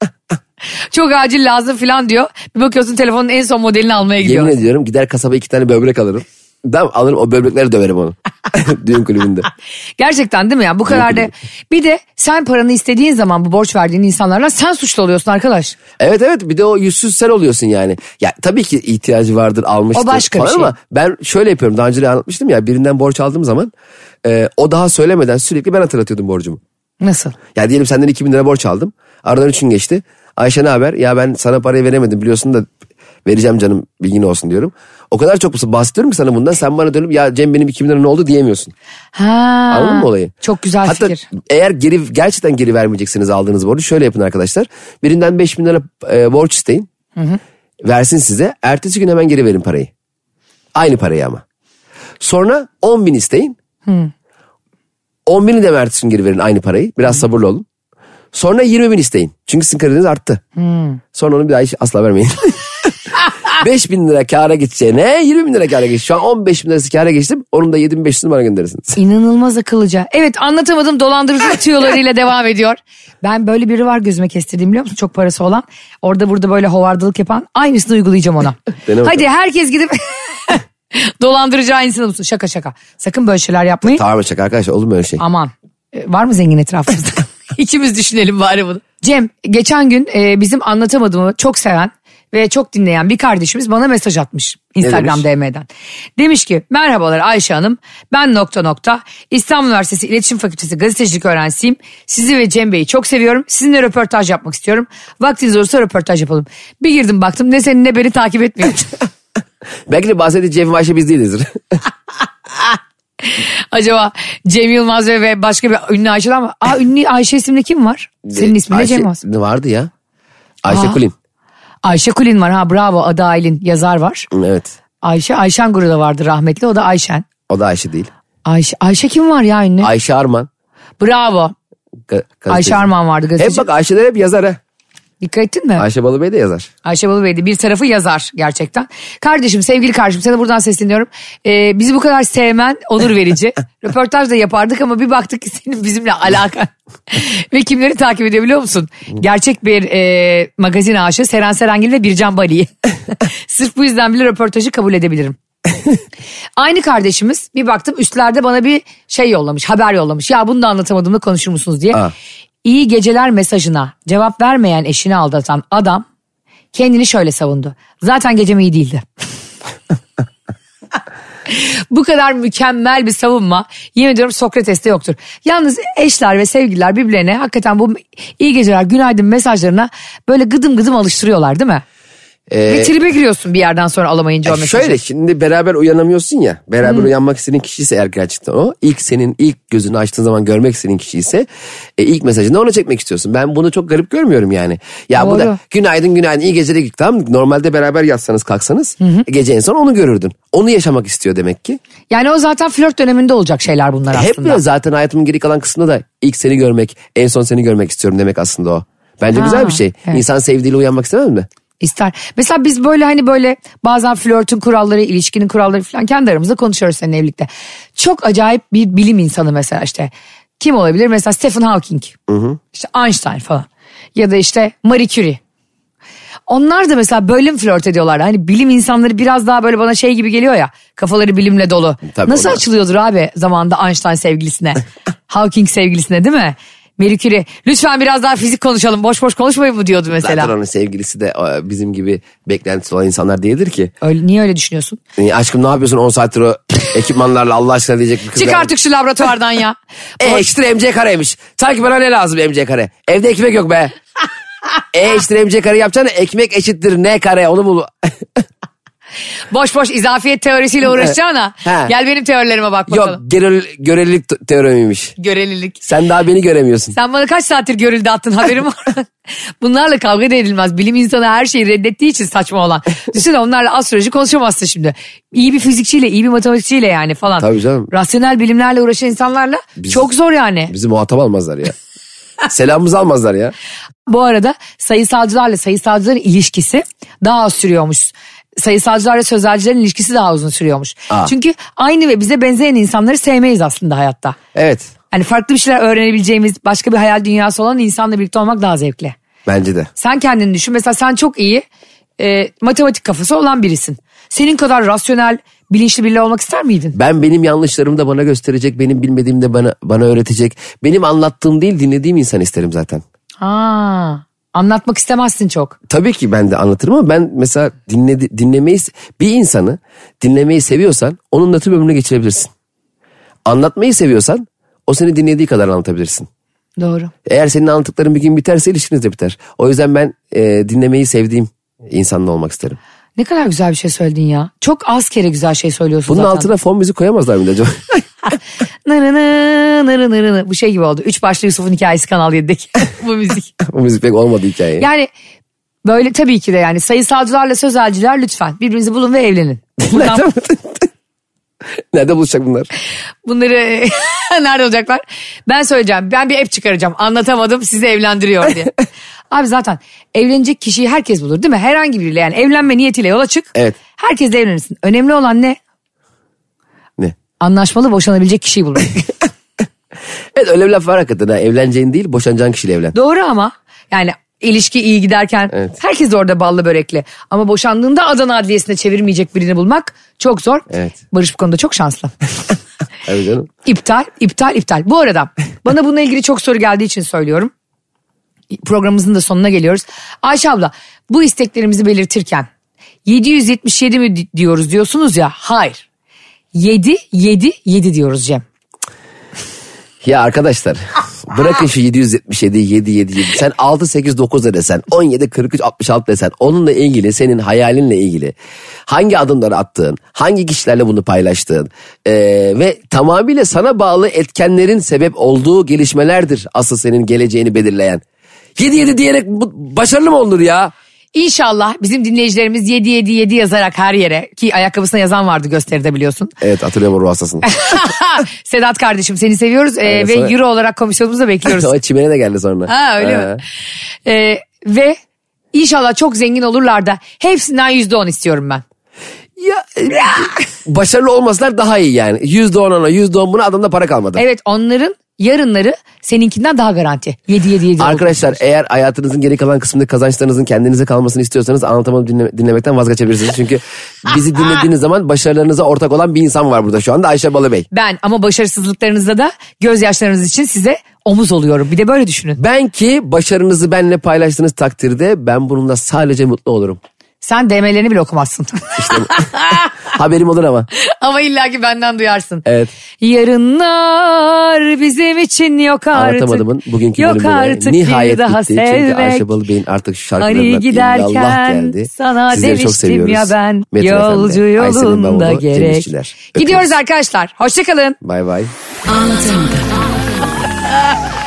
[SPEAKER 2] Çok acil lazım falan diyor. Bir bakıyorsun telefonun en son modelini almaya gidiyor.
[SPEAKER 3] Yemin ediyorum gider kasaba iki tane böbrek alırım. Tamam alırım o böbrekleri döverim onu. Düğün kulübünde.
[SPEAKER 2] Gerçekten değil mi ya? Bu kadar da. Bir de sen paranı istediğin zaman bu borç verdiğin insanlarla sen suçlu oluyorsun arkadaş.
[SPEAKER 3] Evet evet bir de o yüzsüz sen oluyorsun yani. Ya tabii ki ihtiyacı vardır almıştır.
[SPEAKER 2] O başka bir
[SPEAKER 3] falan
[SPEAKER 2] şey.
[SPEAKER 3] Ama ben şöyle yapıyorum daha önce de anlatmıştım ya birinden borç aldığım zaman e, o daha söylemeden sürekli ben hatırlatıyordum borcumu.
[SPEAKER 2] Nasıl?
[SPEAKER 3] Ya diyelim senden 2000 lira borç aldım. Aradan 3 gün geçti. Ayşe ne haber? Ya ben sana parayı veremedim biliyorsun da vereceğim canım bilgin olsun diyorum. O kadar çok bahsediyorum ki sana bundan sen bana dönüp ya Cem benim 2000 lira ne oldu diyemiyorsun.
[SPEAKER 2] Ha.
[SPEAKER 3] Anladın mı olayı?
[SPEAKER 2] Çok güzel
[SPEAKER 3] Hatta
[SPEAKER 2] fikir.
[SPEAKER 3] eğer geri gerçekten geri vermeyeceksiniz aldığınız borcu şöyle yapın arkadaşlar. Birinden 5000 lira e, borç isteyin. Versin size. Ertesi gün hemen geri verin parayı. Aynı parayı ama. Sonra 10 bin isteyin. 10 bini de ertesi gün geri verin aynı parayı. Biraz sabırlı olun. Sonra 20 bin isteyin. Çünkü sizin krediniz arttı. Sonra onu bir daha hiç asla vermeyin. 5 bin lira kâra geçeceğine 20 bin lira kâra geç. Şu an 15 bin lirası kâra geçtim. Onun da 7500'ünü bana gönderirsiniz.
[SPEAKER 2] İnanılmaz akıllıca. Evet anlatamadım dolandırıcılık tüyolarıyla devam ediyor. Ben böyle biri var gözüme kestirdiğim biliyor musun? Çok parası olan. Orada burada böyle hovardalık yapan. Aynısını uygulayacağım ona.
[SPEAKER 3] Dene bakalım.
[SPEAKER 2] Hadi herkes gidip dolandıracağı insanı bulsun. Şaka şaka. Sakın böyle şeyler yapmayın.
[SPEAKER 3] Tamam şaka arkadaşlar olur mu öyle şey?
[SPEAKER 2] Aman. E, Var mı zengin etrafımızda? İkimiz düşünelim bari bunu. Cem geçen gün e, bizim anlatamadığımı çok seven ve çok dinleyen bir kardeşimiz bana mesaj atmış Instagram
[SPEAKER 3] demiş?
[SPEAKER 2] DM'den. Demiş ki merhabalar Ayşe Hanım ben nokta nokta İstanbul Üniversitesi İletişim Fakültesi gazetecilik öğrencisiyim. Sizi ve Cem Bey'i çok seviyorum. Sizinle röportaj yapmak istiyorum. Vaktiniz olursa röportaj yapalım. Bir girdim baktım ne seni ne beni takip etmiyor.
[SPEAKER 3] Belki de bahsettiği Cem ve Ayşe biz değilizdir.
[SPEAKER 2] Acaba Cem Yılmaz ve- ve başka bir ünlü Ayşe'den mi? Aa ünlü Ayşe isimli kim var? Senin isminde
[SPEAKER 3] Ayşe-
[SPEAKER 2] Cem var.
[SPEAKER 3] Ne vardı ya? Ayşe
[SPEAKER 2] Aa.
[SPEAKER 3] Kulin.
[SPEAKER 2] Ayşe Kulin var ha bravo Ada Aylin yazar var.
[SPEAKER 3] Hı, Evet.
[SPEAKER 2] Ayşe Ayşen grubu da vardı rahmetli o da Ayşen.
[SPEAKER 3] O da Ayşe değil.
[SPEAKER 2] Ayşe, Ayşe kim var ya ünlü?
[SPEAKER 3] Ayşe Arman.
[SPEAKER 2] bravo.
[SPEAKER 3] Ga- gazeteci.
[SPEAKER 2] Ayşe Arman vardı
[SPEAKER 3] Hep
[SPEAKER 2] gazeteci.
[SPEAKER 3] bak Ayşe'ler hep yazar ha.
[SPEAKER 2] Dikkat ettin mi?
[SPEAKER 3] Ayşe Balıbey de yazar.
[SPEAKER 2] Ayşe Balıbey'di. Bir tarafı yazar gerçekten. Kardeşim, sevgili kardeşim sana buradan sesleniyorum. Ee, bizi bu kadar sevmen onur verici. Röportaj da yapardık ama bir baktık ki senin bizimle alakan. Ve kimleri takip ediyor biliyor musun? Gerçek bir e, magazin aşığı Seren Serengil ve Bircan Bali'yi. Sırf bu yüzden bile röportajı kabul edebilirim. Aynı kardeşimiz bir baktım üstlerde bana bir şey yollamış haber yollamış. Ya bunu da anlatamadığımda konuşur musunuz diye.
[SPEAKER 3] Aa.
[SPEAKER 2] İyi geceler mesajına cevap vermeyen eşini aldatan adam kendini şöyle savundu. Zaten gecem iyi değildi. Bu kadar mükemmel bir savunma yemin ediyorum Sokrates'te yoktur. Yalnız eşler ve sevgililer birbirlerine hakikaten bu iyi geceler günaydın mesajlarına böyle gıdım gıdım alıştırıyorlar değil mi? ve tribe giriyorsun bir yerden sonra alamayınca o
[SPEAKER 3] Ya
[SPEAKER 2] mesajı.
[SPEAKER 3] Ee, e, şöyle şimdi beraber uyanamıyorsun ya. Beraber
[SPEAKER 2] Hmm.
[SPEAKER 3] uyanmak istediğin kişi ise eğer gerçekten o. ilk senin ilk gözünü açtığın zaman görmek istediğin kişi ise e, ilk mesajını ona çekmek istiyorsun. Ben bunu çok garip görmüyorum yani. Ya bu
[SPEAKER 2] Doğru.
[SPEAKER 3] da günaydın günaydın iyi geceler git tamam mı? Normalde beraber yatsanız kalksanız gece en son onu görürdün. Onu yaşamak istiyor demek ki. E,
[SPEAKER 2] Yani o zaten flört döneminde olacak şeyler bunlar
[SPEAKER 3] Hep
[SPEAKER 2] aslında.
[SPEAKER 3] böyle zaten hayatımın geri kalan kısmında da ilk seni görmek, en son seni görmek istiyorum demek aslında o. Bence
[SPEAKER 2] Ha,
[SPEAKER 3] güzel bir şey.
[SPEAKER 2] evet.
[SPEAKER 3] İnsan sevdiğiyle uyanmak istemez mi?
[SPEAKER 2] İster. Mesela biz böyle hani böyle bazen flörtün kuralları, ilişkinin kuralları falan kendi aramızda konuşuyoruz seninle evlilikte. Çok acayip bir bilim insanı mesela işte. Kim olabilir? Mesela Stephen Hawking. İşte Einstein falan. Ya da işte Marie Curie. Onlar da mesela böyle mi flört ediyorlar? Hani bilim insanları biraz daha böyle bana şey gibi geliyor ya. Kafaları bilimle dolu.
[SPEAKER 3] Tabii
[SPEAKER 2] Nasıl
[SPEAKER 3] onlar-
[SPEAKER 2] açılıyordur abi zamanında Einstein sevgilisine? Hawking sevgilisine değil mi? Marie Curie lütfen biraz daha fizik konuşalım. Boş boş konuşmayın mı diyordu mesela.
[SPEAKER 3] Zaten onun sevgilisi de e, bizim gibi beklentisi olan insanlar değildir ki.
[SPEAKER 2] Öyle, niye öyle düşünüyorsun?
[SPEAKER 3] E, Aşkım ne yapıyorsun 10 saattir o ekipmanlarla Allah aşkına diyecek bir kız.
[SPEAKER 2] Çık artık şu laboratuvardan ya.
[SPEAKER 3] E eşittir MC kareymiş. Sanki bana ne lazım MC kare? Evde ekmek yok be. E eşittir MC kare yapacaksın ekmek eşittir ne kare onu bul.
[SPEAKER 2] boş boş izafiyet teorisiyle uğraşacağına
[SPEAKER 3] He.
[SPEAKER 2] gel benim teorilerime bak
[SPEAKER 3] Yok
[SPEAKER 2] bakalım.
[SPEAKER 3] görel, görelilik t- teoremiymiş.
[SPEAKER 2] Görelilik.
[SPEAKER 3] Sen daha beni göremiyorsun.
[SPEAKER 2] Sen bana kaç saattir görüldü attın haberim var. Bunlarla kavga da edilmez. Bilim insanı her şeyi reddettiği için saçma olan. Düşünsene onlarla astroloji konuşamazsın şimdi. İyi bir fizikçiyle, iyi bir matematikçiyle yani falan.
[SPEAKER 3] Tabii canım.
[SPEAKER 2] Rasyonel bilimlerle uğraşan insanlarla çok zor yani.
[SPEAKER 3] Bizi muhatap almazlar ya. Selamımızı almazlar ya.
[SPEAKER 2] Bu arada sayısalcılarla sayısalcıların ilişkisi daha az sürüyormuş. Sayısalcılarla sözelcilerin ilişkisi daha uzun sürüyormuş.
[SPEAKER 3] Aa.
[SPEAKER 2] Çünkü aynı ve bize benzeyen insanları sevmeyiz aslında hayatta.
[SPEAKER 3] Evet
[SPEAKER 2] Hani farklı bir şeyler öğrenebileceğimiz başka bir hayal dünyası olan insanla birlikte olmak daha zevkli.
[SPEAKER 3] bence de.
[SPEAKER 2] Sen kendini düşün. Mesela sen çok iyi e, matematik kafası olan birisin. Senin kadar rasyonel, bilinçli biri olmak ister miydin?
[SPEAKER 3] Ben benim yanlışlarımı da bana gösterecek, benim bilmediğim de bana, bana öğretecek. Benim anlattığım değil dinlediğim insan isterim zaten.
[SPEAKER 2] Ha, anlatmak istemezsin çok.
[SPEAKER 3] Tabii ki ben de anlatırım ama ben mesela dinledi, dinlemeyi bir insanı dinlemeyi seviyorsan onunla tüm ömrünü geçirebilirsin. Anlatmayı seviyorsan o seni dinlediği kadar anlatabilirsin.
[SPEAKER 2] Doğru.
[SPEAKER 3] Eğer senin anlattıkların bir gün biterse ilişkiniz de biter. O yüzden ben e, dinlemeyi sevdiğim insanla olmak isterim.
[SPEAKER 2] Ne kadar güzel bir şey söyledin ya. Çok az kere güzel şey söylüyorsun
[SPEAKER 3] Bunun
[SPEAKER 2] zaten.
[SPEAKER 3] altına fon müzik koyamazlar mıydı acaba?
[SPEAKER 2] Nırı nı, nırı nırı nı. Bu şey gibi oldu. Üç başlı Yusuf'un hikayesi Kanal 7'deki bu müzik.
[SPEAKER 3] Bu müzik pek olmadı hikaye.
[SPEAKER 2] Yani böyle tabii ki de yani sayısalcılarla sözelciler lütfen birbirinizi bulun ve evlenin. Buradan
[SPEAKER 3] Nerede buluşacak bunlar?
[SPEAKER 2] bunları nerede olacaklar? Ben söyleyeceğim. Ben bir app çıkaracağım. Anlatamadım sizi evlendiriyor diye. Abi zaten evlenecek kişiyi herkes bulur değil mi? Herhangi biriyle yani evlenme niyetiyle yola çık.
[SPEAKER 3] Evet.
[SPEAKER 2] Herkesle evlenirsin. Önemli olan ne?
[SPEAKER 3] Ne?
[SPEAKER 2] Anlaşmalı boşanabilecek kişiyi bulmak.
[SPEAKER 3] Evet öyle bir laf var hakikaten. Ha. Evleneceğin değil boşanacağın kişiyle evlen.
[SPEAKER 2] Doğru ama yani ilişki iyi giderken
[SPEAKER 3] Evet.
[SPEAKER 2] herkes orada ballı börekli. Ama boşandığında Adana Adliyesi'ne çevirmeyecek birini bulmak çok zor.
[SPEAKER 3] Evet.
[SPEAKER 2] Barış bu konuda çok şanslı.
[SPEAKER 3] Evet canım.
[SPEAKER 2] İptal, iptal, iptal. Bu arada bana bununla ilgili çok soru geldiği için söylüyorum. Programımızın da sonuna geliyoruz. Ayşe abla bu isteklerimizi belirtirken 777 mi di- diyoruz diyorsunuz ya. Hayır. 7, 7, 7 diyoruz Cem.
[SPEAKER 3] Ya arkadaşlar bırakın şu 777 777 sen 6 8 9 da desen 17 43 66 desen onunla ilgili senin hayalinle ilgili hangi adımları attığın hangi kişilerle bunu paylaştığın eee, ve tamamıyla sana bağlı etkenlerin sebep olduğu gelişmelerdir asıl senin geleceğini belirleyen. 77 diyerek bu, başarılı mı olur ya?
[SPEAKER 2] İnşallah bizim dinleyicilerimiz 777 yazarak her yere ki ayakkabısına yazan vardı gösteride biliyorsun.
[SPEAKER 3] Evet hatırlıyorum o ruh hastasını.
[SPEAKER 2] Sedat kardeşim seni seviyoruz ee,
[SPEAKER 3] Aynen,
[SPEAKER 2] ve
[SPEAKER 3] sana-
[SPEAKER 2] euro olarak komisyonumuzu da bekliyoruz.
[SPEAKER 3] o çimene de geldi sonra.
[SPEAKER 2] ha öyle
[SPEAKER 3] Ha.
[SPEAKER 2] mi? Ee, ve inşallah çok zengin olurlar da hepsinden yüzde on istiyorum ben.
[SPEAKER 3] Ya, e, başarılı olmasalar daha iyi yani. %10 ona %10 buna adamda para kalmadı.
[SPEAKER 2] Evet onların yarınları seninkinden daha garanti. 7 7 7.
[SPEAKER 3] Arkadaşlar eğer hayatınızın geri kalan kısmında kazançlarınızın kendinize kalmasını istiyorsanız anlatamadım dinle- dinlemekten vazgeçebilirsiniz. Çünkü bizi dinlediğiniz zaman başarılarınıza ortak olan bir insan var burada şu anda Ayşe Balıbey.
[SPEAKER 2] Ben ama başarısızlıklarınızda da gözyaşlarınız için size omuz oluyorum. Bir de böyle düşünün.
[SPEAKER 3] Ben ki başarınızı benimle paylaştığınız takdirde ben bununla sadece mutlu olurum.
[SPEAKER 2] Sen DM'lerini bile okumazsın.
[SPEAKER 3] Haberim olur ama.
[SPEAKER 2] Ama illaki benden duyarsın.
[SPEAKER 3] Evet.
[SPEAKER 2] Yarınlar bizim için yok artık.
[SPEAKER 3] Anlatamadımın bugünkü
[SPEAKER 2] yok
[SPEAKER 3] bölümüne
[SPEAKER 2] artık
[SPEAKER 3] nihayet
[SPEAKER 2] bir daha
[SPEAKER 3] bitti. Çünkü
[SPEAKER 2] sevmek.
[SPEAKER 3] Ayşe Balıbey'in artık şu şarkılarından
[SPEAKER 2] Hani
[SPEAKER 3] illallah
[SPEAKER 2] giderken
[SPEAKER 3] geldi.
[SPEAKER 2] sana
[SPEAKER 3] Sizleri çok
[SPEAKER 2] demiştim
[SPEAKER 3] seviyoruz.
[SPEAKER 2] ya ben
[SPEAKER 3] Metin
[SPEAKER 2] yolcu
[SPEAKER 3] Efendi, Ayşe'nin
[SPEAKER 2] yolunda
[SPEAKER 3] bavulu, Cem
[SPEAKER 2] gerek.
[SPEAKER 3] İşçiler.
[SPEAKER 2] Gidiyoruz
[SPEAKER 3] Öpüyoruz.
[SPEAKER 2] arkadaşlar. Hoşçakalın.
[SPEAKER 3] Bay bay.
[SPEAKER 4] Anlatamadım.